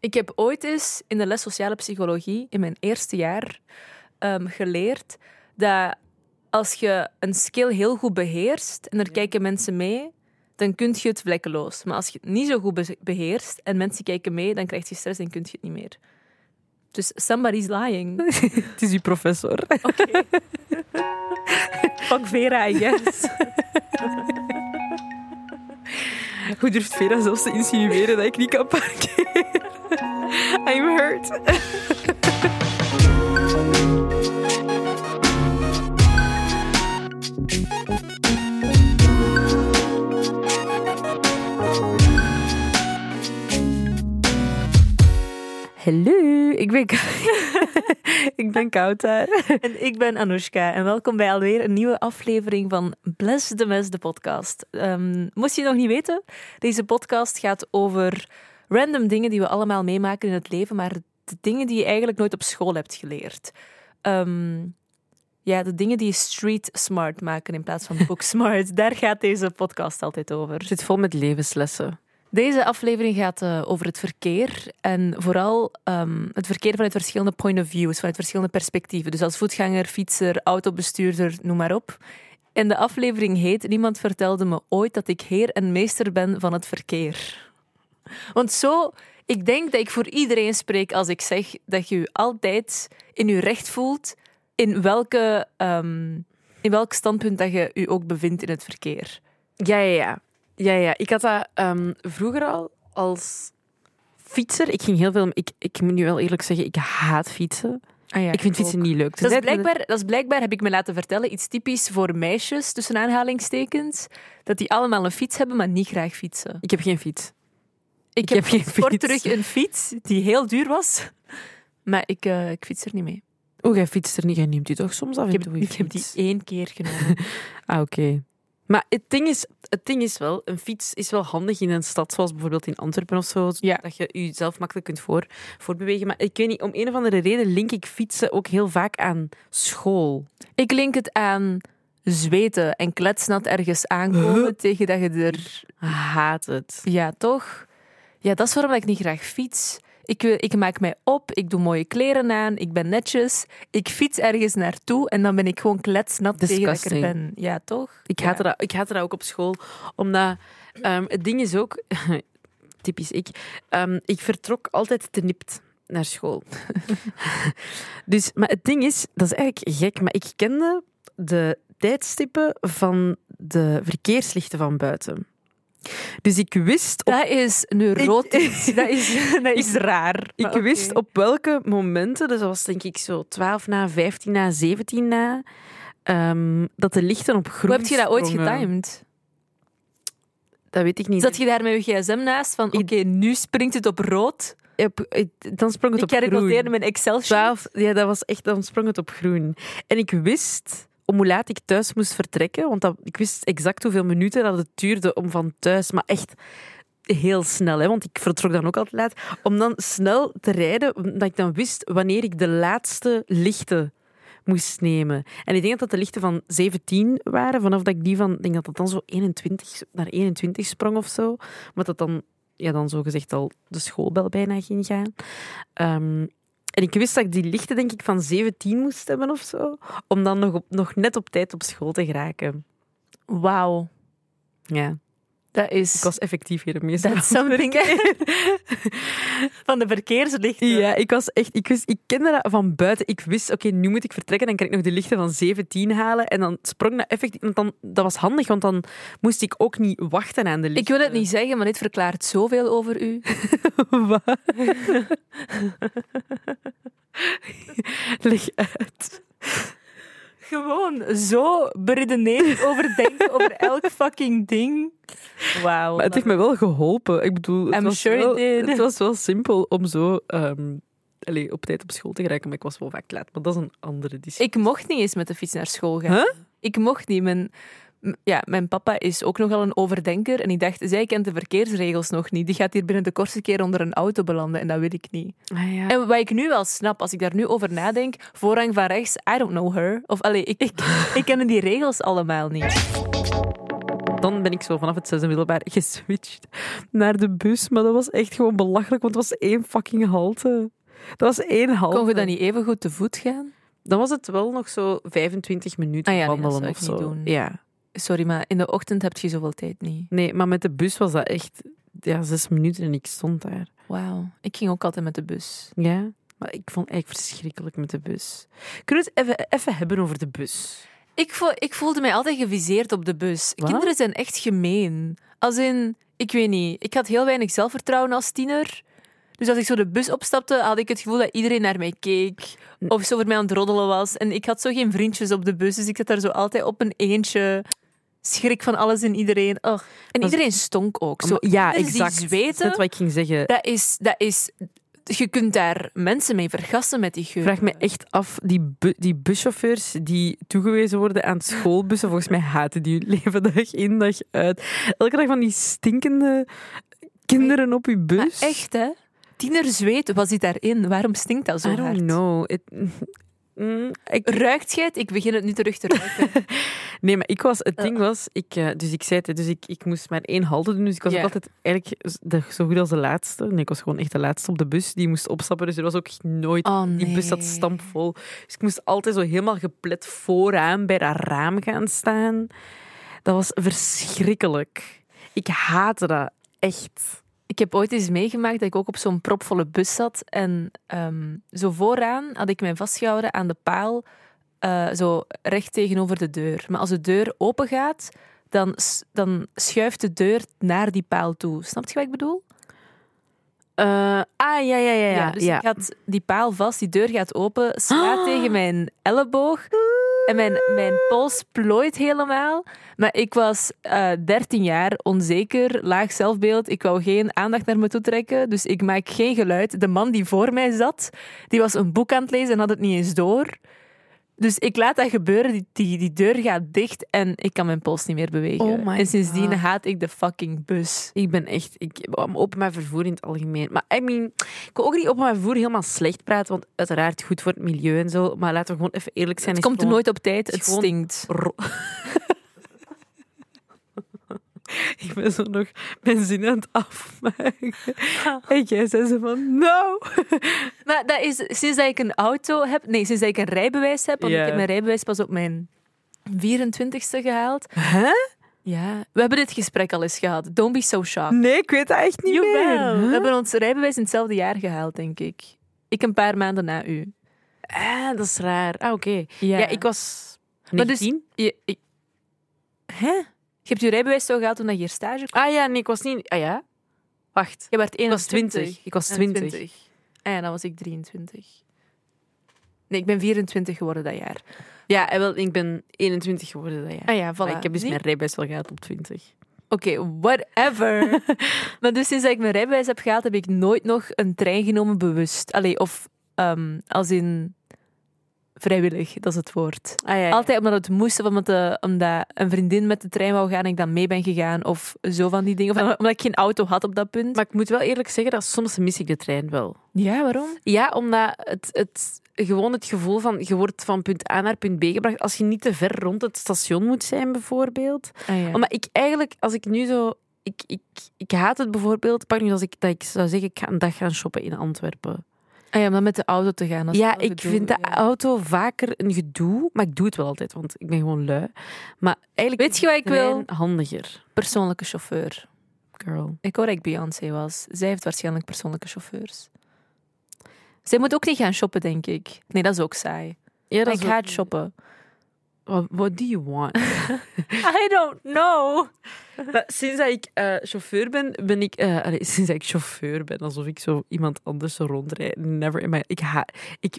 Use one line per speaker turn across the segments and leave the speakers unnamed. Ik heb ooit eens in de les sociale psychologie, in mijn eerste jaar, ehm, geleerd dat als je een skill heel goed beheerst en er kijken mensen mee, dan kun je het vlekkeloos. Maar als je het niet zo goed be- beheerst en mensen kijken mee, dan krijg je stress en kun je het niet meer. Dus somebody's lying.
Het is uw professor.
Fuck Vera, I guess.
Hoe durft Vera zelfs te insinueren dat ik niet kan parkeren? I'm hurt. Hallo, ik ben, ik ben koud daar.
En ik ben Anoushka en welkom bij alweer een nieuwe aflevering van Bless de Mes, de podcast. Ehm, moest je het nog niet weten, deze podcast gaat over random dingen die we allemaal meemaken in het leven, maar de dingen die je eigenlijk nooit op school hebt geleerd. Ehm, ja, de dingen die je street smart maken in plaats van book smart. Daar gaat deze podcast altijd over.
zit vol met levenslessen.
Deze aflevering gaat eh, over het verkeer en vooral ehm, het verkeer vanuit verschillende point of views, vanuit verschillende perspectieven. Dus als voetganger, fietser, autobestuurder, noem maar op. En de aflevering heet Niemand vertelde me ooit dat ik heer en meester ben van het verkeer. Want zo, ik denk dat ik voor iedereen spreek als ik zeg dat je je altijd in je recht voelt in, welke, ehm, in welk standpunt dat je je ook bevindt in het verkeer.
Ja, ja, ja. ja, ja. Ik had dat ehm, vroeger al als fietser. Ik ging heel veel. Ik, ik moet nu wel eerlijk zeggen, ik haat fietsen. ik vind fietsen niet leuk.
Dat is,
Tenzij het met
blijkbaar, dat is blijkbaar, heb ik me laten vertellen, iets typisch voor meisjes, tussen aanhalingstekens. Dat die allemaal een fiets hebben, maar niet graag fietsen.
een- Ik heb geen fiets.
Ik,
heb geen
kort
fiets.
terug een fiets die heel duur was, maar ik, eh, ik fiets er niet mee.
Oh, jij fietst er niet. Jij neemt u toch soms af en
Ik heb,
toe je
ik heb die
fiets?
één keer genomen.
Ah, oké. Maar het ding, is, het ding is wel, een fiets is wel handig in een stad zoals bijvoorbeeld in Antwerpen of zo.
Ja.
Dat je jezelf makkelijk kunt voor, voorbewegen. Maar ik weet niet, om een of andere reden link ik fietsen ook heel vaak aan school.
ik link het aan zweten en kletsnat ergens aankomen tegen dat je er...
Haat het.
Ja, toch? Ja, dat is waarom ik niet graag fiets. Ik, wil- ik maak mij op, ik doe mooie kleren aan, ik ben netjes. Ik fiets ergens naartoe en dan ben ik gewoon kletsnat tegen dat ik er
Disgusting.
ben. Ja, toch?
Ik
Ja.
haatte, dat, ik haatte dat ook op school. Omdat ehm, het ding is ook, typisch ik, ehm, ik vertrok altijd te nipt naar school. dus, maar het ding is, dat is eigenlijk gek, maar ik kende de tijdstippen van de verkeerslichten van buiten. Dus ik wist op,
Dat is neurotisch.
Ik-
dat, is, dat is raar.
ik
Maar oké.
wist op welke momenten, dus dat was denk ik zo 12 na, 15 na, 17 na, ehm, dat de lichten op groen
Hoe heb je dat ooit
sprongen.
getimed?
Dat weet ik niet.
Zat je daar met je gsm naast van, oké, nu springt het op rood.
Op- het- dan sprong het
Ik
op groen.
herinnerde mijn Excel-sheet.
12, ja, dat was echt, dan sprong het op groen. En ik wist om hoe laat ik thuis moest vertrekken, want dat, ik wist exact hoeveel minuten dat het duurde om van thuis, maar echt heel snel, hè, want ik vertrok dan ook altijd laat, om dan snel te rijden, omdat ik dan wist wanneer ik de laatste lichten moest nemen. En ik denk dat dat de lichten van 17 waren, vanaf dat ik die van, ik denk dat dat dan zo 21, naar 21 sprong of zo, maar dat dan, ja, dan zo gezegd al de schoolbel bijna ging gaan. Ehm, en ik wist dat ik die lichten, denk ik, van 17 moest hebben of zo. Om dan nog, op, nog net op tijd op school te geraken.
Wauw,
Ja,
dat
ik
is...
was effectief hier de meeste.
That's something. van de verkeerslichten.
Ja, ik was echt, ik, wist, ik kende dat van buiten. Ik wist, oké, nu moet ik vertrekken. Dan kan ik nog de lichten van 17 halen. En dan sprong dat effectief. Want dan, dat was handig, want dan moest ik ook niet wachten aan de
Ik
lichten.
wil het niet zeggen, maar dit verklaart zoveel over u.
Wat? Leg uit.
Gewoon zo beredeneerd overdenken over elk fucking ding. Wauw.
Maar het heeft me wel geholpen. Ik bedoel, het,
I'm
was,
sure it
wel,
did.
het was wel simpel om zo ehm, allee, op tijd op school te geraken, maar ik was wel vaak laat. Maar dat is een andere discussie.
Ik mocht niet eens met de fiets naar school gaan.
Huh?
Ik mocht niet. Mijn, m- ja, mijn papa is ook nogal een overdenker. En ik dacht, zij kent de verkeersregels nog niet. Die gaat hier binnen de kortste keer onder een auto belanden. En dat wil ik niet.
Ah, ja.
En wat ik nu wel snap, als ik daar nu over nadenk, voorrang van rechts, I don't know her. Of allee, ik, ik, ik ken die regels allemaal niet.
dan ben ik zo vanaf het zesde middelbaar geswitcht naar de bus. Maar dat was echt gewoon belachelijk, want het was één fucking halte. Dat was één halte.
Kon je dan niet even goed te voet gaan?
Dan was het wel nog zo 25 minuten
Ah ja, nee, dat
wandelen
zou
of
ik niet
zo.
doen.
Ja.
Sorry, maar in de ochtend heb je zoveel tijd niet.
Nee, maar met de bus was dat echt ja, zes minuten en ik stond daar.
Wauw. Ik ging ook altijd met de bus.
Ja. Maar ik vond het eigenlijk verschrikkelijk met de bus. Kunnen we het even, even hebben over de bus?
Ik, vo- ik voelde mij altijd geviseerd op de bus.
Wat?
Kinderen zijn echt gemeen. Als in, ik weet niet, ik had heel weinig zelfvertrouwen als tiener. Dus als ik zo de bus opstapte, had ik het gevoel dat iedereen naar mij keek. Of zo voor mij aan het roddelen was. En ik had zo geen vriendjes op de bus, dus ik zat daar zo altijd op een eentje. Schrik van alles en iedereen. Och. En
Dat is-
iedereen stonk ook. Zo,
ja,
kinderen
exact.
Die eh,
Dat is net
zweten,
wat ik ging zeggen.
dat is, dat is... Je kunt daar mensen mee vergassen met die geur.
Ik vraag me echt af, die, bu- die buschauffeurs die toegewezen worden aan schoolbussen, volgens mij haten die hun leven dag in, dag uit. Elke dag van die stinkende kinderen op je
Maar
bus.
echt, hè? Tienerzweet, wat zit daarin? Waarom stinkt dat zo
I don't
hard?
know. It- Mm, ik-
Ruikt jij het? Ik begin het nu terug te ruiken.
nee, maar ik was, het ding was, ik, eh, dus ik zei het, hè, dus ik, ik moest maar één halte doen, dus ik was
Ja.
ook altijd eigenlijk de, zo goed als de laatste. Nee, ik was gewoon echt de laatste op de bus, die moest opstappen, dus er was ook nooit
Oh,
Die bus zat
nee.
stampvol. Dus ik moest altijd zo helemaal geplet vooraan bij dat raam gaan staan. Dat was verschrikkelijk. Ik haatte dat echt.
Ik heb ooit eens meegemaakt dat ik ook op zo'n propvolle bus zat. En ehm, zo vooraan had ik mij vastgehouden aan de paal, eh, zo recht tegenover de deur. Maar als de deur open gaat, dan, s- dan schuift de deur naar die paal toe. Snap je wat ik bedoel?
Eh, ah, ja, ja, ja. ja,
dus
ja.
ik had die paal vast, die deur gaat open, slaat
Ah.
tegen mijn elleboog. En mijn, mijn pols plooit helemaal. Maar ik was eh 13 jaar, onzeker, laag zelfbeeld. Ik wou geen aandacht naar me toe trekken, dus ik maak geen geluid. De man die voor mij zat, die was een boek aan het lezen en had het niet eens door. Dus ik laat dat gebeuren, die, die, die deur gaat dicht en ik kan mijn pols niet meer bewegen.
Oh my
en sindsdien
God.
haat ik de fucking bus.
Ik ben echt... Ik, openbaar vervoer in het algemeen. Maar, I mean, ik wil ook niet openbaar vervoer helemaal slecht praten, want uiteraard goed voor het milieu en zo. Maar laten we gewoon even eerlijk zijn.
Het
is
komt
gewoon-
nooit op tijd,
het is
het
gewoon
stinkt.
Ro- ik ben zo nog mijn zin aan het afmaken. En jij zei ze van, "Nou." no!
Maar dat is sinds dat ik een auto heb, nee, sinds dat ik een rijbewijs heb, want
Ja.
ik heb mijn rijbewijs pas op mijn 24ste gehaald.
Hè?
Ja, we hebben dit gesprek al eens gehad. Don't be so shocked.
Nee, ik weet dat echt niet
Jawel,
meer.
we
Huh?
hebben ons rijbewijs in hetzelfde jaar gehaald, denk ik. Ik een paar maanden na u.
Ah, dat is raar. Ah, oké. Ja. ik was
Maar dus-
19.
Je, ik- Hè? Je hebt je rijbewijs zo gehaald toen dat je hier stage kwam?
Ah ja, nee, ik was niet... Ah ja? Wacht.
Je werd 21.
Ik was 20. Ik was 20.
20. Ah ja, dan was ik 23. Nee, ik ben 24 geworden dat jaar.
Ja, eh, wel, ik ben 21 geworden dat jaar.
Ah ja, voilà.
Maar ik heb dus
Zie?
mijn rijbewijs wel gehad op 20.
Oké, whatever. maar dus sinds dat ik mijn rijbewijs heb gehaald, heb ik nooit nog een trein genomen bewust. Allee, of ehm, als in vrijwillig, dat is het woord.
Ah ja, Altijd.
Altijd omdat het moest, of omdat, de- omdat een vriendin met de trein wou gaan en ik dan mee ben gegaan. Of zo van die dingen. Of omdat ik geen auto had op dat punt.
Maar ik moet wel eerlijk zeggen dat soms mis ik de trein wel.
ja, waarom?
Ja, omdat het, het, gewoon het gevoel van je wordt van punt A naar punt B gebracht. Als je niet te ver rond het station moet zijn, bijvoorbeeld.
Ah,
Omdat ik eigenlijk, als ik nu zo. Ik, ik, ik haat het bijvoorbeeld. Pak nu als ik, dat ik zou zeggen, ik ga een dag gaan shoppen in Antwerpen.
Ah ja, om dan met de auto te gaan. dat is
Ja,
wel
ik
gedoe,
vind de
ja.
auto vaker een gedoe. Maar ik doe het wel altijd, want ik ben gewoon lui. Maar eigenlijk
Weet je wat ik wil?
trein handiger,
Persoonlijke chauffeur.
girl.
Ik hoor dat ik Beyoncé was. Zij heeft waarschijnlijk persoonlijke chauffeurs. Zij moet ook niet gaan shoppen, denk ik. Nee, dat is ook saai.
Ja,
ik
wel-
haat shoppen.
What, what do you want?
I don't know.
Maar sinds dat ik eh, chauffeur ben, ben ik... eh, allee, sinds dat ik chauffeur ben, alsof ik zo iemand anders zo rondrijd. Never in my... Ik ha... Ik,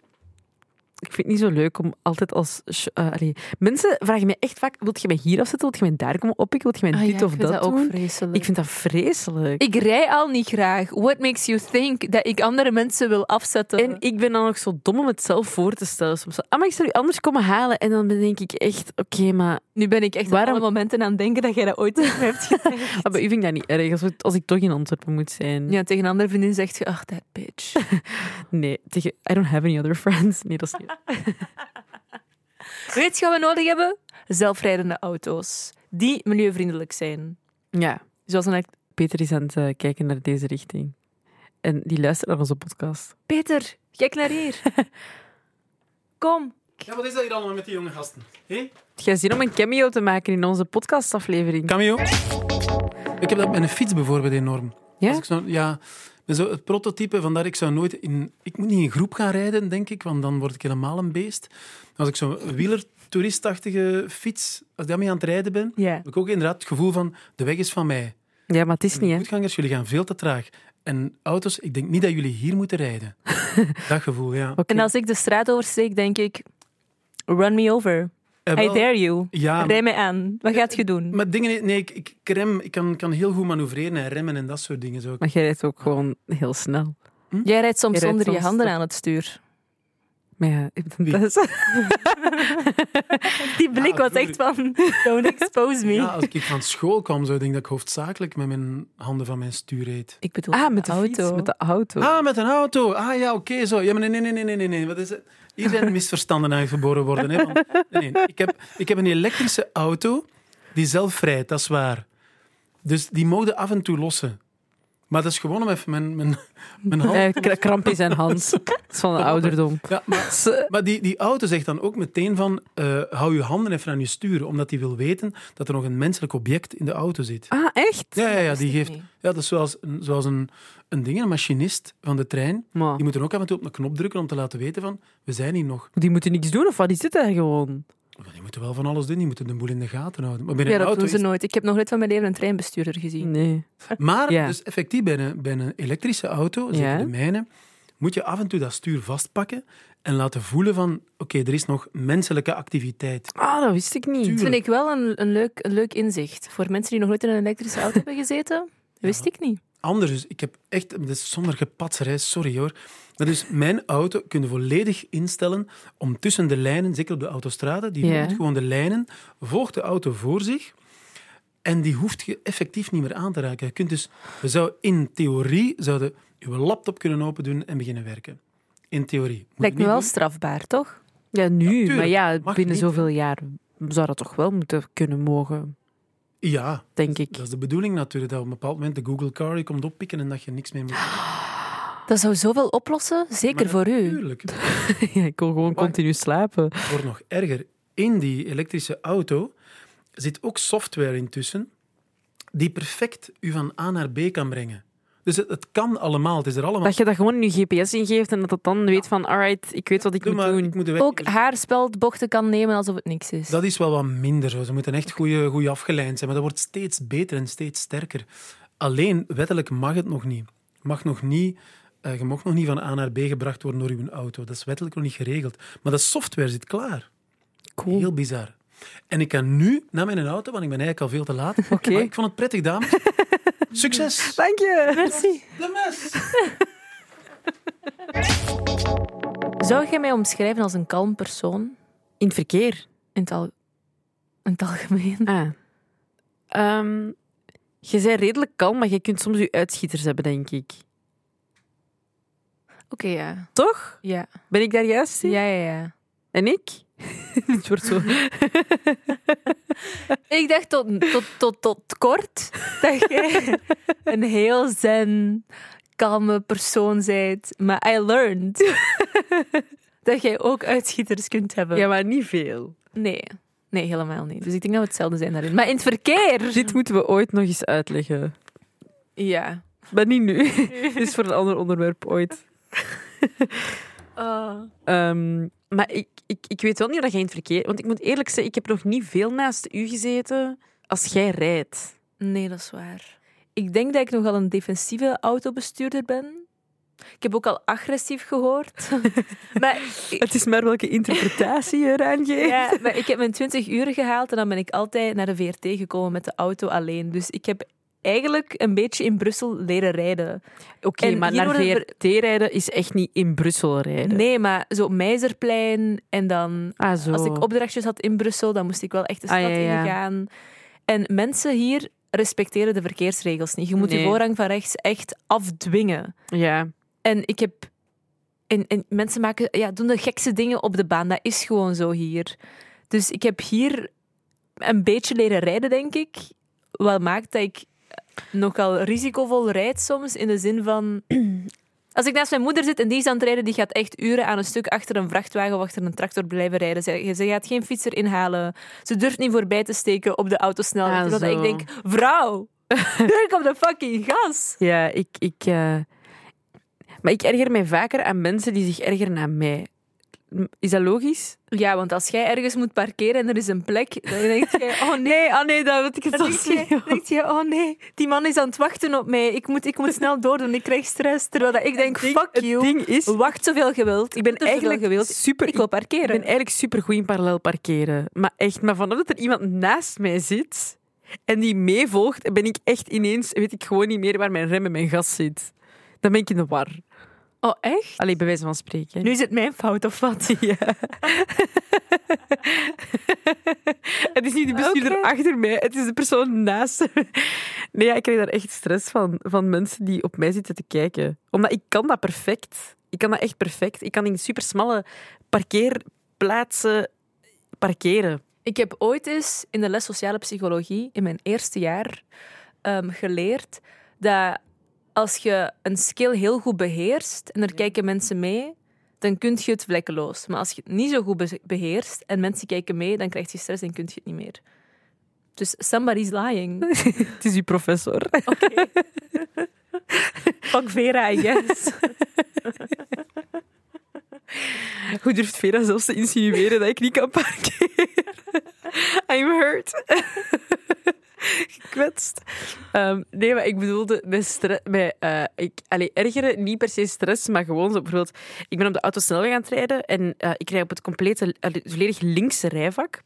ik vind het niet zo leuk om altijd als... cha- eh, allee. Mensen vragen mij echt vaak... Wilt je mij hier afzetten? Wilt je mij daar komen oppikken? Wilt je mij
Ah, ja,
dit
ik
of
vind
dat,
ook
doen?
vreselijk.
Ik
Ik,
vind dat vreselijk.
rij al niet graag. What makes you think dat ik andere mensen wil afzetten?
en ik ben dan ook zo dom om het zelf voor te stellen. Soms zo, ah, maar ik zou u anders komen halen. En dan denk ik echt, oké, maar...
nu ben ik echt
Waarom-
op alle momenten aan het denken dat jij dat ooit tegen mij hebt gezegd.
ah, bij u vind ik dat niet erg, als, we- als ik toch in Antwerpen moet zijn.
Ja, tegen een andere vriendin zegt je, ach, that bitch.
Nee, tegen, I don't have any other friends. Nee, dat is niet...
Weet je wat we nodig hebben? Zelfrijdende auto's. die milieuvriendelijk zijn.
Ja, dus
Zoals een act-
Peter is aan het eh, kijken naar deze richting. En die luistert naar onze podcast.
Peter, kijk naar hier. Kom.
Ja, wat is dat hier allemaal met die jonge gasten? Hé?
Heb jij zin om een cameo te maken in onze podcastaflevering?
Cameo. Ik heb dat met een fiets bijvoorbeeld enorm.
Ja?
Als ik zo, ja met zo het prototype, vandaar ik zou nooit in... Ik moet niet in groep gaan rijden, denk ik, want dan word ik helemaal een beest. Als ik zo'n wielertoeristachtige fiets, als ik daarmee aan het rijden ben,
Ja.
heb ik ook inderdaad het gevoel van, de weg is van mij.
Ja, maar het is niet, hè.
Voetgangers, jullie gaan veel te traag. En auto's, ik denk niet dat jullie hier moeten rijden. dat gevoel, ja.
Oké.
En als ik de straat oversteek, denk ik... Run me over.
Eh,
I
wel,
dare you.
ja,
Rij mij aan. Wat gaat je doen?
maar dingen... Nee, ik, ik, ik rem, ik kan, kan heel goed manoeuvreren en remmen en dat soort dingen. Zo.
Maar jij rijdt ook gewoon heel snel.
Jij rijdt soms
Je rijdt
zonder je
soms
handen
te-
aan het stuur.
Maar ja, ik-
Wie?
dat is...
Die blik
Ja,
was echt van... Don't expose me.
Ja, als ik van school kwam, zou ik denk dat ik hoofdzakelijk met mijn handen van mijn stuur reed.
Ik bedoel,
Ah, met de
auto.
fiets, met de auto.
Ah, met een auto. Ah ja, oké, zo. Ja, maar nee, nee, nee, nee, nee, nee. Wat is het? Hier zijn misverstanden aan geboren worden. Hè? Want- nee, nee. Ik, heb, ik heb een elektrische auto die zelf rijdt, dat is waar. Dus die mogen af en toe lossen. Maar dat is gewoon om even mijn, mijn, mijn hand...
Eh, kra- kramp in zijn hand. Dat is van de ouderdom.
Ja, maar
Ze-
Maar die, die auto zegt dan ook meteen van, eh, hou je handen even aan je sturen, omdat die wil weten dat er nog een menselijk object in de auto zit.
Ah, echt?
Ja, ja, ja die
ik
geeft...
niet.
Ja, dat is zoals, een, zoals een, een ding, een machinist van de trein.
Maar,
Die moet er ook af en toe op een knop drukken om te laten weten van, we zijn hier nog.
die moeten niks doen, of wat? Die zitten daar gewoon.
Maar die moeten wel van alles doen, die moeten de boel in de gaten houden. Maar bij een
Ja, dat
auto
doen ze
is- Mm.
nooit. Ik heb nog nooit van mijn leven een treinbestuurder gezien.
Nee.
Maar
Ja.
dus effectief, bij een, bij een elektrische auto, zeker
Ja.
de mijne, moet je af en toe dat stuur vastpakken en laten voelen van, oké, er is nog menselijke activiteit.
Ah, dat wist ik
Dat
niet.
vind ik wel een, een, leuk, een leuk inzicht. Voor mensen die nog nooit in een elektrische auto hebben gezeten, wist ik niet.
Anders, dus ik heb echt, dat is zonder gepatserij, sorry hoor. Maar dus mijn auto kun je volledig instellen om tussen de lijnen, zeker op de autostrade, die
Ja.
volgt gewoon de lijnen, volgt de auto voor zich en die hoeft je effectief niet meer aan te raken. Je kunt dus, we zouden in theorie zouden je laptop kunnen open doen en beginnen werken. In theorie. Moet je
Lijkt me
niet
wel
doen.
strafbaar, toch?
Ja, nu.
tuurlijk.
maar ja,
Mag
binnen
niet, hè.
zoveel jaar zou dat toch wel moeten kunnen mogen,
Ja,
denk ik.
dat is de bedoeling natuurlijk, dat op een bepaald moment de Google Car je komt oppikken en dat je niks meer moet doen.
Dat zou zoveel oplossen, zeker
Maar
voor u.
Natuurlijk.
Ja, ik wil gewoon continu slapen.
Het wordt nog erger. In die elektrische auto zit ook software intussen die perfect u van A naar B kan brengen. Dus het, het kan allemaal, het is er allemaal.
Dat je dat gewoon in je GPS ingeeft en dat het dan weet van, alright, ik weet wat ik
Doe
moet
maar,
doen.
ik moet de weg-
Ook haarspeldbochten kan nemen alsof het niks is.
Dat is wel wat minder zo. Ze moeten echt goed afgeleid zijn, maar dat wordt steeds beter en steeds sterker. Alleen, wettelijk mag het nog niet. Mag nog niet eh, je mag nog niet van A naar B gebracht worden door uw auto. Dat is wettelijk nog niet geregeld. Maar dat software zit klaar.
Cool.
Heel bizar. En ik kan nu naar mijn auto, want ik ben eigenlijk al veel te laat.
Oké.
Maar ik vond het prettig, dames. Succes!
Dank je.
Merci.
De mes!
Zou jij mij omschrijven als een kalm persoon?
In het verkeer.
In het, al... in het algemeen.
Ah. Ehm, je bent redelijk kalm, maar je kunt soms je uitschieters hebben, denk ik.
Oké, ja.
Toch?
Ja.
Ben ik daar juist in?
ja, ja, ja.
En ik? Dit wordt zo...
Ik dacht tot, tot, tot, tot kort dat jij een heel zen, kalme persoon bent. Maar I learned dat jij ook uitschieters kunt hebben.
Ja, maar niet veel.
Nee. nee, helemaal niet. Dus ik denk dat we hetzelfde zijn daarin. Maar in het verkeer...
Dit moeten we ooit nog eens uitleggen.
Ja.
Maar niet nu. Dit is voor een ander onderwerp ooit.
Ah.
Ehm, maar ik, ik, ik weet wel niet dat jij in het verkeer... Want ik moet eerlijk zeggen, ik heb nog niet veel naast u gezeten als jij rijdt.
Nee, dat is waar. Ik denk dat ik nogal een defensieve autobestuurder ben. Ik heb ook al agressief gehoord. maar, ik-
Het is maar welke interpretatie je eraan geeft.
ja, maar ik heb mijn 20 uur gehaald en dan ben ik altijd naar de VRT gekomen met de auto alleen. Dus ik heb eigenlijk een beetje in Brussel leren rijden.
Oké,
En
maar
hier
naar
worden er-
VRT rijden is echt niet in Brussel rijden.
Nee, maar zo op Meizerplein en dan
Ah, zo.
Als ik opdrachtjes had in Brussel, dan moest ik wel echt de
Ah,
stad
ja, ja.
ingaan. En mensen hier respecteren de verkeersregels niet. Je moet de
Nee.
voorrang van rechts echt afdwingen.
Ja.
En ik heb... En, en mensen maken, ja, doen de gekste dingen op de baan. Dat is gewoon zo hier. Dus ik heb hier een beetje leren rijden, denk ik. Wel maakt dat ik nogal risicovol rijd soms. In de zin van. Als ik naast mijn moeder zit en die is aan het rijden, die gaat echt uren aan een stuk achter een vrachtwagen of achter een tractor blijven rijden. Ze, ze gaat geen fietser inhalen. Ze durft niet voorbij te steken op de autosnelheid.
Ah,
Zodat
zo.
ik denk: vrouw, druk op de fucking gas.
Ja, ik... ik eh, Maar ik erger mij vaker aan mensen die zich ergeren aan mij. Is dat logisch?
Ja, want als jij ergens moet parkeren en er is een plek, dan denk jij, oh nee.
Nee, ah nee, dat weet ik
Dan denk jij, dan denk jij, oh nee, die man is aan het wachten op mij. Ik moet, ik moet snel doordoen, ik krijg stress. Terwijl dat ik denk, fuck
Het
you,
ding is,
wacht zoveel geweld. Ik
ben
doe zoveel
eigenlijk
gewild.
super-
Ik wil
ik
parkeren.
ben eigenlijk super goed in parallel parkeren. Maar echt, maar vanaf dat er iemand naast mij zit en die meevolgt, ben ik echt ineens, weet ik gewoon niet meer waar mijn rem en mijn gas zit. Dan ben ik in de war.
Oh, echt?
Alleen bij wijze van spreken.
Nu is het mijn fout, of wat?
Ja. het is niet de bestuurder
Oké.
achter mij, het is de persoon naast me. Nee, ja, ik krijg daar echt stress van, van mensen die op mij zitten te kijken. Omdat ik kan dat perfect. Ik kan dat echt perfect. Ik kan in supersmalle parkeerplaatsen parkeren.
Ik heb ooit eens in de les sociale psychologie, in mijn eerste jaar, ehm, geleerd dat als je een skill heel goed beheerst en er kijken mensen mee, dan kun je het vlekkeloos. Maar als je het niet zo goed be- beheerst en mensen kijken mee, dan krijg je stress en kun je het niet meer. Dus somebody's lying.
Het is uw professor.
Fuck Vera, I guess.
Hoe durft Vera zelfs te insinueren dat ik niet kan parkeren? I'm hurt. Gekwetst. Ehm, nee, maar ik bedoelde met stress. Met, eh, ik, allee, ergeren, niet per se stress, maar gewoon zo bijvoorbeeld. Ik ben op de autosnelweg aan het rijden en eh, ik rij op het complete, eh, volledig linkse rijvak.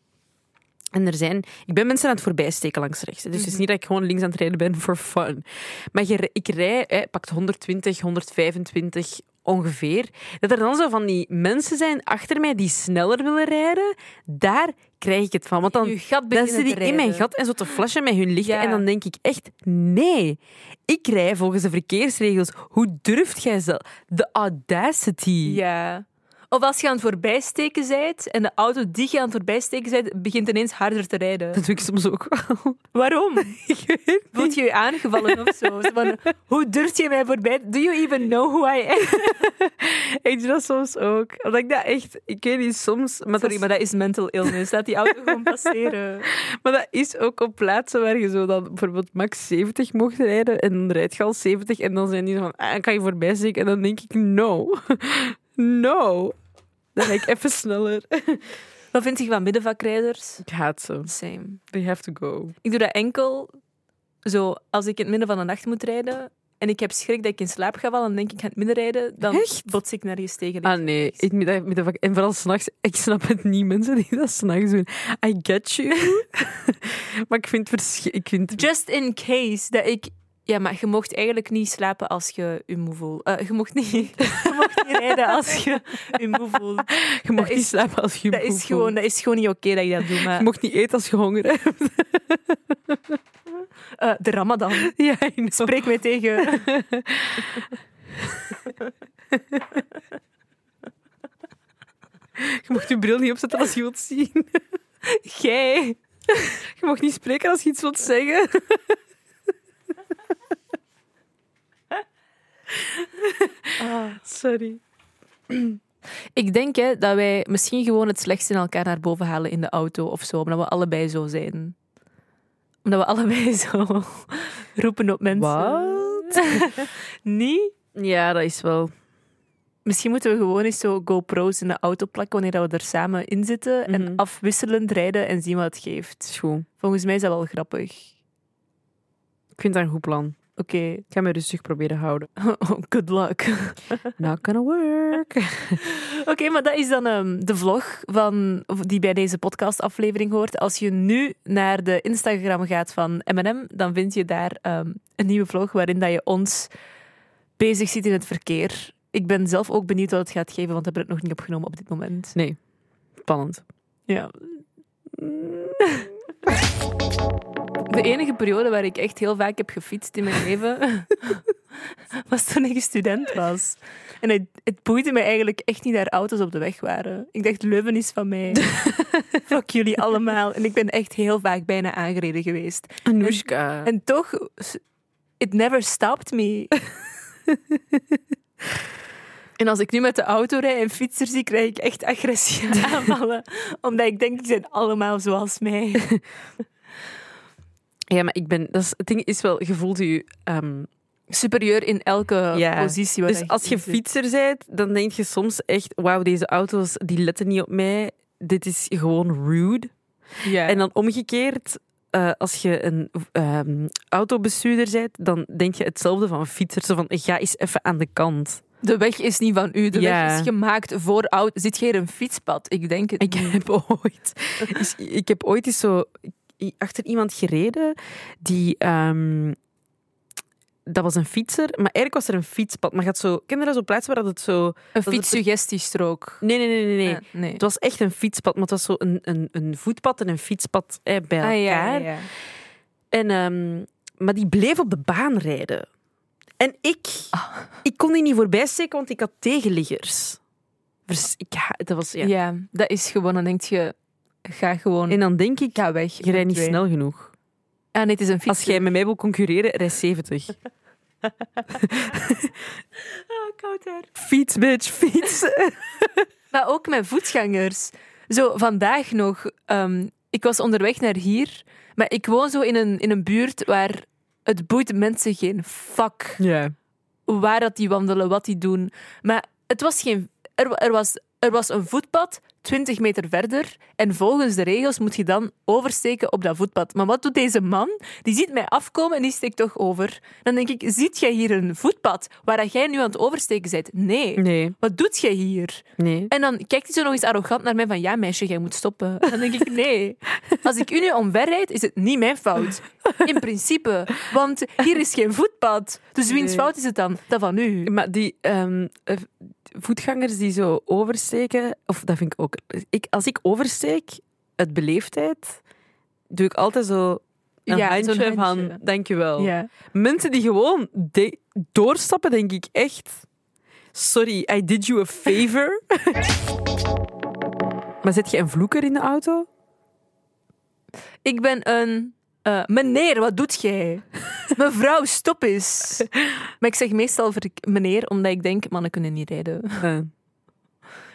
En er zijn, ik ben mensen aan het voorbijsteken langs rechts. hè. Dus het is niet dat ik gewoon links aan het rijden ben for fun. Maar je, ik rij, hè, pakt 120, 125 ongeveer. Dat er dan zo van die mensen zijn achter mij die sneller willen rijden, daar krijg ik het van. Want dan,
Je gat
dan
beginnen
zit
te
ik in mijn
rijden.
gat en zo te flashen met hun lichten.
Ja.
En dan denk ik echt, nee, ik rij volgens de verkeersregels. Hoe durft jij zelf? De audacity.
Ja. Of als je aan het voorbijsteken bent en de auto die je aan het voorbijsteken bent, begint ineens harder te rijden.
Dat doe ik soms ook wel.
Waarom? Voelt je je aangevallen of zo? Zo Van, hoe durf je mij voorbij? Do you even know who I am?
Ik doe dat soms ook. Omdat ik dat echt... Ik weet niet, soms... Maar dat,
Sorry,
is,
maar dat is mental illness. Laat die auto gewoon passeren.
maar dat is ook op plaatsen waar je zo dan bijvoorbeeld max 70 mocht rijden. En dan rijd je al 70. En dan zijn die zo van... Ah, kan je voorbij steken? En dan denk ik, no. No. Dan rijd ik even sneller.
Wat vind je van middenvakrijders?
Ik haat ze.
Same.
They have to go.
Ik doe dat enkel zo als ik in het midden van de nacht moet rijden en ik heb schrik dat ik in slaap ga vallen en denk ik ga in het midden rijden, dan
Echt?
bots ik nergens tegen.
Ah nee, ik, met dat- met dat vak- en vooral s'nachts. Ik snap het niet, mensen die dat s'nachts doen. I get you. maar ik vind het verschi- ik vind het-
Just in case dat ik... Ja, maar je mocht eigenlijk niet slapen als je je moe voelt. Eh, je mocht niet, je mocht niet rijden als je je moe voelt.
Je mag
is-
niet slapen als je
Dat
moe
is
voelt.
gewoon, dat is gewoon niet oké dat ik dat doe. Maar,
Je mocht niet eten als je honger hebt.
eh, de ramadan.
Ja, I know.
Spreek mij tegen.
Je mocht je bril niet opzetten als je wilt zien.
Jij.
Je mocht niet spreken als je iets wilt zeggen.
Ah.
Sorry.
Ik denk hè, dat wij misschien gewoon het slechtste in elkaar naar boven halen in de auto of zo. Omdat we allebei zo zijn. Omdat we allebei zo roepen op mensen. Niet?
Ja, dat is wel.
Misschien moeten we gewoon eens zo GoPro's in de auto plakken wanneer dat we er samen in zitten. En
Mhm.
afwisselend rijden en zien wat het geeft.
is goed.
Volgens mij is dat wel grappig.
Ik vind dat een goed plan.
Oké,
Ik ga me rustig proberen houden.
Oh, good luck.
Not gonna work.
Oké, maar dat is dan ehm, de vlog van, die bij deze podcastaflevering hoort. Als je nu naar de Instagram gaat van M&M, dan vind je daar ehm, een nieuwe vlog waarin dat je ons bezig ziet in het verkeer. Ik ben zelf ook benieuwd wat het gaat geven, want we hebben het nog niet opgenomen op dit moment.
Nee.
Mm.
Spannend.
Ja. de enige periode waar ik echt heel vaak heb gefietst in mijn leven was toen ik student was. En het, het boeide me eigenlijk echt niet dat er auto's op de weg waren. Ik dacht, Leuven is van mij. Fuck jullie allemaal. En ik ben echt heel vaak bijna aangereden geweest.
Anoushka.
En toch, s- it never stopped me. en als ik nu met de auto rijd en fietser zie, krijg ik echt agressie aanvallen. Omdat ik denk, die zijn allemaal zoals mij.
Ja, maar ik ben... Dat is, het ding is wel, je voelt je... ehm,
Superieur in elke
Ja.
positie. waar
dus
dat
als je
in zit.
fietser bent, dan denk je soms echt... Wauw, deze auto's, die letten niet op mij. Dit is gewoon rude.
Ja.
En dan omgekeerd, eh, als je een ehm, autobestuurder bent, dan denk je hetzelfde van een fietser. Zo van, ga eens even aan de kant.
de weg is niet van u. De
Ja.
weg is gemaakt voor oud. Zit hier een fietspad? Ik denk het
Ik
niet.
heb ooit, dus ik heb ooit eens zo i- achter iemand gereden die. ehm, dat was een fietser, maar eigenlijk was er een fietspad. Maar gaat zo. Ken je dat zo'n plaats waar dat het zo.
Een
het-
fietssuggestiestrook.
Nee, nee, nee, nee. nee.
Ah, nee.
Het was echt een fietspad, maar het was zo een, een, een voetpad en een fietspad eh, bij elkaar.
Ah, ja, ja, ja.
En, ehm, maar die bleef op de baan rijden. En ik,
Ah.
ik kon die niet voorbij steken, want ik had tegenliggers. Vers, ik, ha- dat was, ja.
Ja, dat is gewoon. Dan denk je, ga gewoon.
En dan denk ik,
ga weg.
je rijdt niet
Twee.
snel genoeg.
Ah, nee, het is een fiets.
Als jij met mij wil concurreren, rij 70.
Ah, koud haar.
Fiets, bitch, fiets.
Maar ook met voetgangers. Zo vandaag nog. ehm, ik was onderweg naar hier. Maar ik woon zo in een, in een buurt waar het boeit mensen geen fuck
Ja.
waar dat die wandelen, wat die doen. Maar het was geen... Er, er, was, er was een voetpad 20 meter verder. En volgens de regels moet je dan oversteken op dat voetpad. Maar wat doet deze man? Die ziet mij afkomen en die steekt toch over. Dan denk ik, ziet jij hier een voetpad waar dat jij nu aan het oversteken bent? Nee.
Nee,
Wat doet jij hier?
nee.
En dan kijkt hij zo nog eens arrogant naar mij van ja meisje, jij moet stoppen. Dan denk ik nee. Als ik u nu omverrijd, is het niet mijn fout. In principe. Want hier is geen voetpad. Dus wiens
Nee.
fout is het dan? Dat van u.
Maar die ehm, eh, voetgangers die zo oversteken, of dat vind ik ook. Ik, als ik oversteek, uit beleefdheid, doe ik altijd zo een
Ja,
handje,
zo'n
van
handje.
dankjewel.
Ja.
Mensen die gewoon de- doorstappen, denk ik echt. Sorry, I did you a favor. maar zet je een vloeker in de auto?
Ik ben een eh, meneer, wat doet jij? Mevrouw, stop eens. Maar ik zeg meestal verk- meneer, omdat ik denk mannen kunnen niet rijden.
Eh,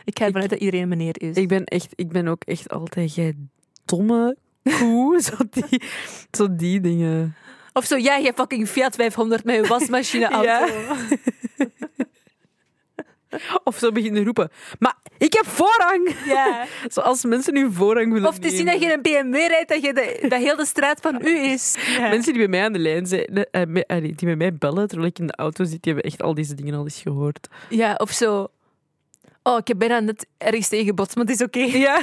Ik ga ervan
Ik-
uit dat iedereen meneer is.
ik, ben echt, ik ben ook echt altijd, jij domme koe. zo, die, zo die dingen.
Of zo, ja, jij fucking Fiat 500 met je wasmachine auto.
Ja. Of zo beginnen roepen. Maar ik heb voorrang!
Ja.
Zoals mensen hun voorrang willen
Of te zien dat je een BMW rijdt, dat, je de, dat heel de straat van u is.
nemen. Mensen die bij mij aan de lijn zijn, eh, eh, me- eh, die bij mij bellen terwijl ik in de auto zit, die hebben echt al deze dingen al eens gehoord.
Ja, of zo. Oh, ik heb bijna net ergens tegengebotst, maar het is oké.
Ja.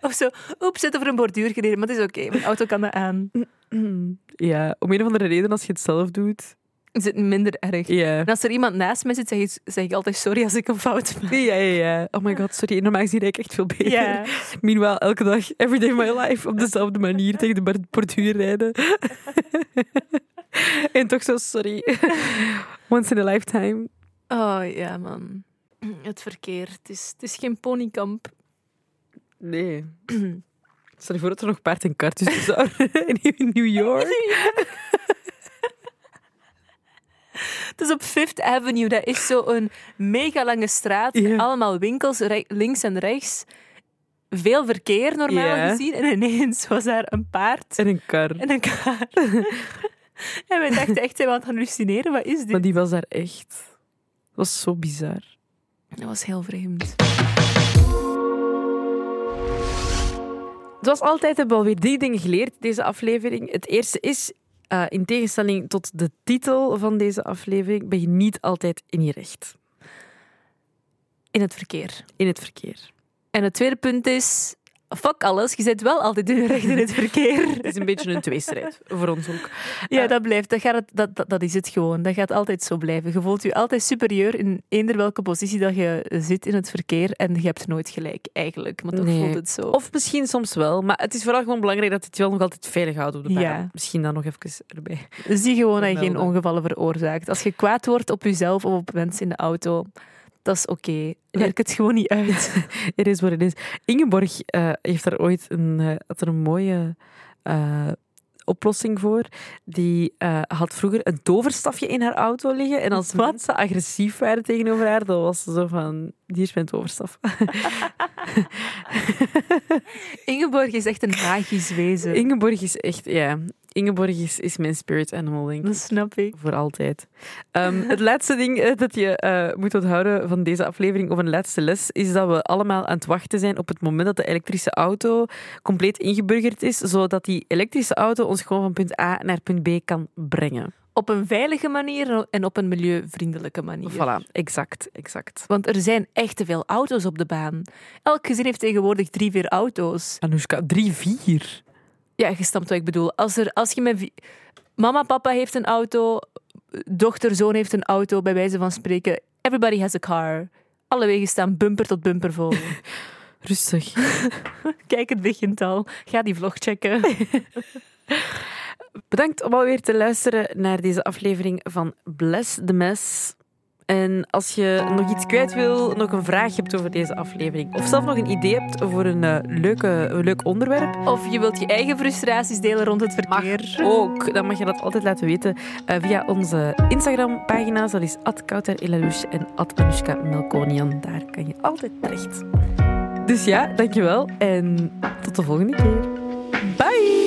Of zo, oeps, zit over een borduur gereden, maar het is oké. Mijn auto kan dat aan.
Ja, om een of andere reden als je het zelf doet.
Is het minder erg?
Ja.
En als er iemand naast mij zit, zeg ik, zeg ik altijd sorry als ik een fout maak.
Ja, ja, ja. Oh my god, sorry. Normaal gezien rijd ik echt veel beter.
Ja.
Meanwhile, elke dag, every day of my life, op dezelfde manier tegen de bord- borduur rijden. en toch zo, sorry. Once in a lifetime.
Oh ja, man. Het verkeer. Het is, het is geen ponykamp.
Nee. Stel je voor dat er nog paard en kar tussen zouden in New York.
Het is op Fifth Avenue. Dat is zo'n mega lange straat.
Ja.
Allemaal winkels, re- links en rechts. Veel verkeer normaal
Ja.
gezien. En ineens was daar een paard
En een kar.
en een kaart. en wij dachten echt, zijn we aan het hallucineren? Wat is dit?
Maar die was daar echt. Dat was zo bizar.
Dat was heel vreemd.
Zoals altijd hebben we alweer drie dingen geleerd deze aflevering. Het eerste is, eh, in tegenstelling tot de titel van deze aflevering, ben je niet altijd in je recht
In het verkeer.
in het verkeer.
En het tweede punt is, fuck alles, je zit wel altijd recht in het verkeer.
Het is een beetje een tweestrijd, voor ons ook.
Ja, dat blijft. Dat, gaat het- dat, dat, dat is het gewoon. Dat gaat altijd zo blijven. Je voelt je altijd superieur in eender welke positie dat je zit in het verkeer. En je hebt nooit gelijk, eigenlijk. Want dan
Nee.
voelt het zo.
Of misschien soms wel, maar het is vooral gewoon belangrijk dat het wel nog altijd veilig houdt op de baan.
Ja.
Misschien dan nog even erbij.
zie gewoon dat je geen
Melden.
ongevallen veroorzaakt. Als je kwaad wordt op jezelf of op mensen in de auto, dat is oké. Werk het gewoon niet uit.
Het is wat het is. Ingeborg eh, heeft daar ooit een, eh, had er een mooie eh, oplossing voor. Die eh, had vroeger een toverstafje in haar auto liggen. En als
Wat?
mensen agressief waren tegenover haar, dan was ze zo van... Hier is mijn toverstaf.
Ingeborg is echt een magisch wezen.
Ingeborg is echt... Ja, Ingeborg is, is mijn spirit animal, denk ik.
dat snap ik.
Voor altijd. Ehm, het laatste ding eh, dat je eh, moet onthouden van deze aflevering, of een laatste les, is dat we allemaal aan het wachten zijn op het moment dat de elektrische auto compleet ingeburgerd is, zodat die elektrische auto ons gewoon van punt A naar punt B kan brengen.
Op een veilige manier en op een milieuvriendelijke manier.
Voilà, exact, exact.
Want er zijn echt te veel auto's op de baan. Elk gezin heeft tegenwoordig drie, vier auto's.
Anoushka, drie, vier.
Ja, je snapt wat ik bedoel. Als, er, als je met... vi- Mama, papa heeft een auto. Dochter, zoon heeft een auto, bij wijze van spreken. Everybody has a car. Alle wegen staan bumper tot bumper vol.
Rustig.
Kijk, het begint al. Ga die vlog checken.
Bedankt om alweer te luisteren naar deze aflevering van Bless the Mess. En als je nog iets kwijt wil, nog een vraag hebt over deze aflevering, of zelf nog een idee hebt voor een eh, leuke, een leuk onderwerp,
Of je wilt je eigen frustraties delen rond het
mag
verkeer.
ook. Dan mag je dat altijd laten weten eh, via onze Instagram-pagina's. Dat is @kouterelalouche en Anushka Melkonian. Daar kan je altijd terecht. Dus ja, dankjewel en tot de volgende keer. Bye!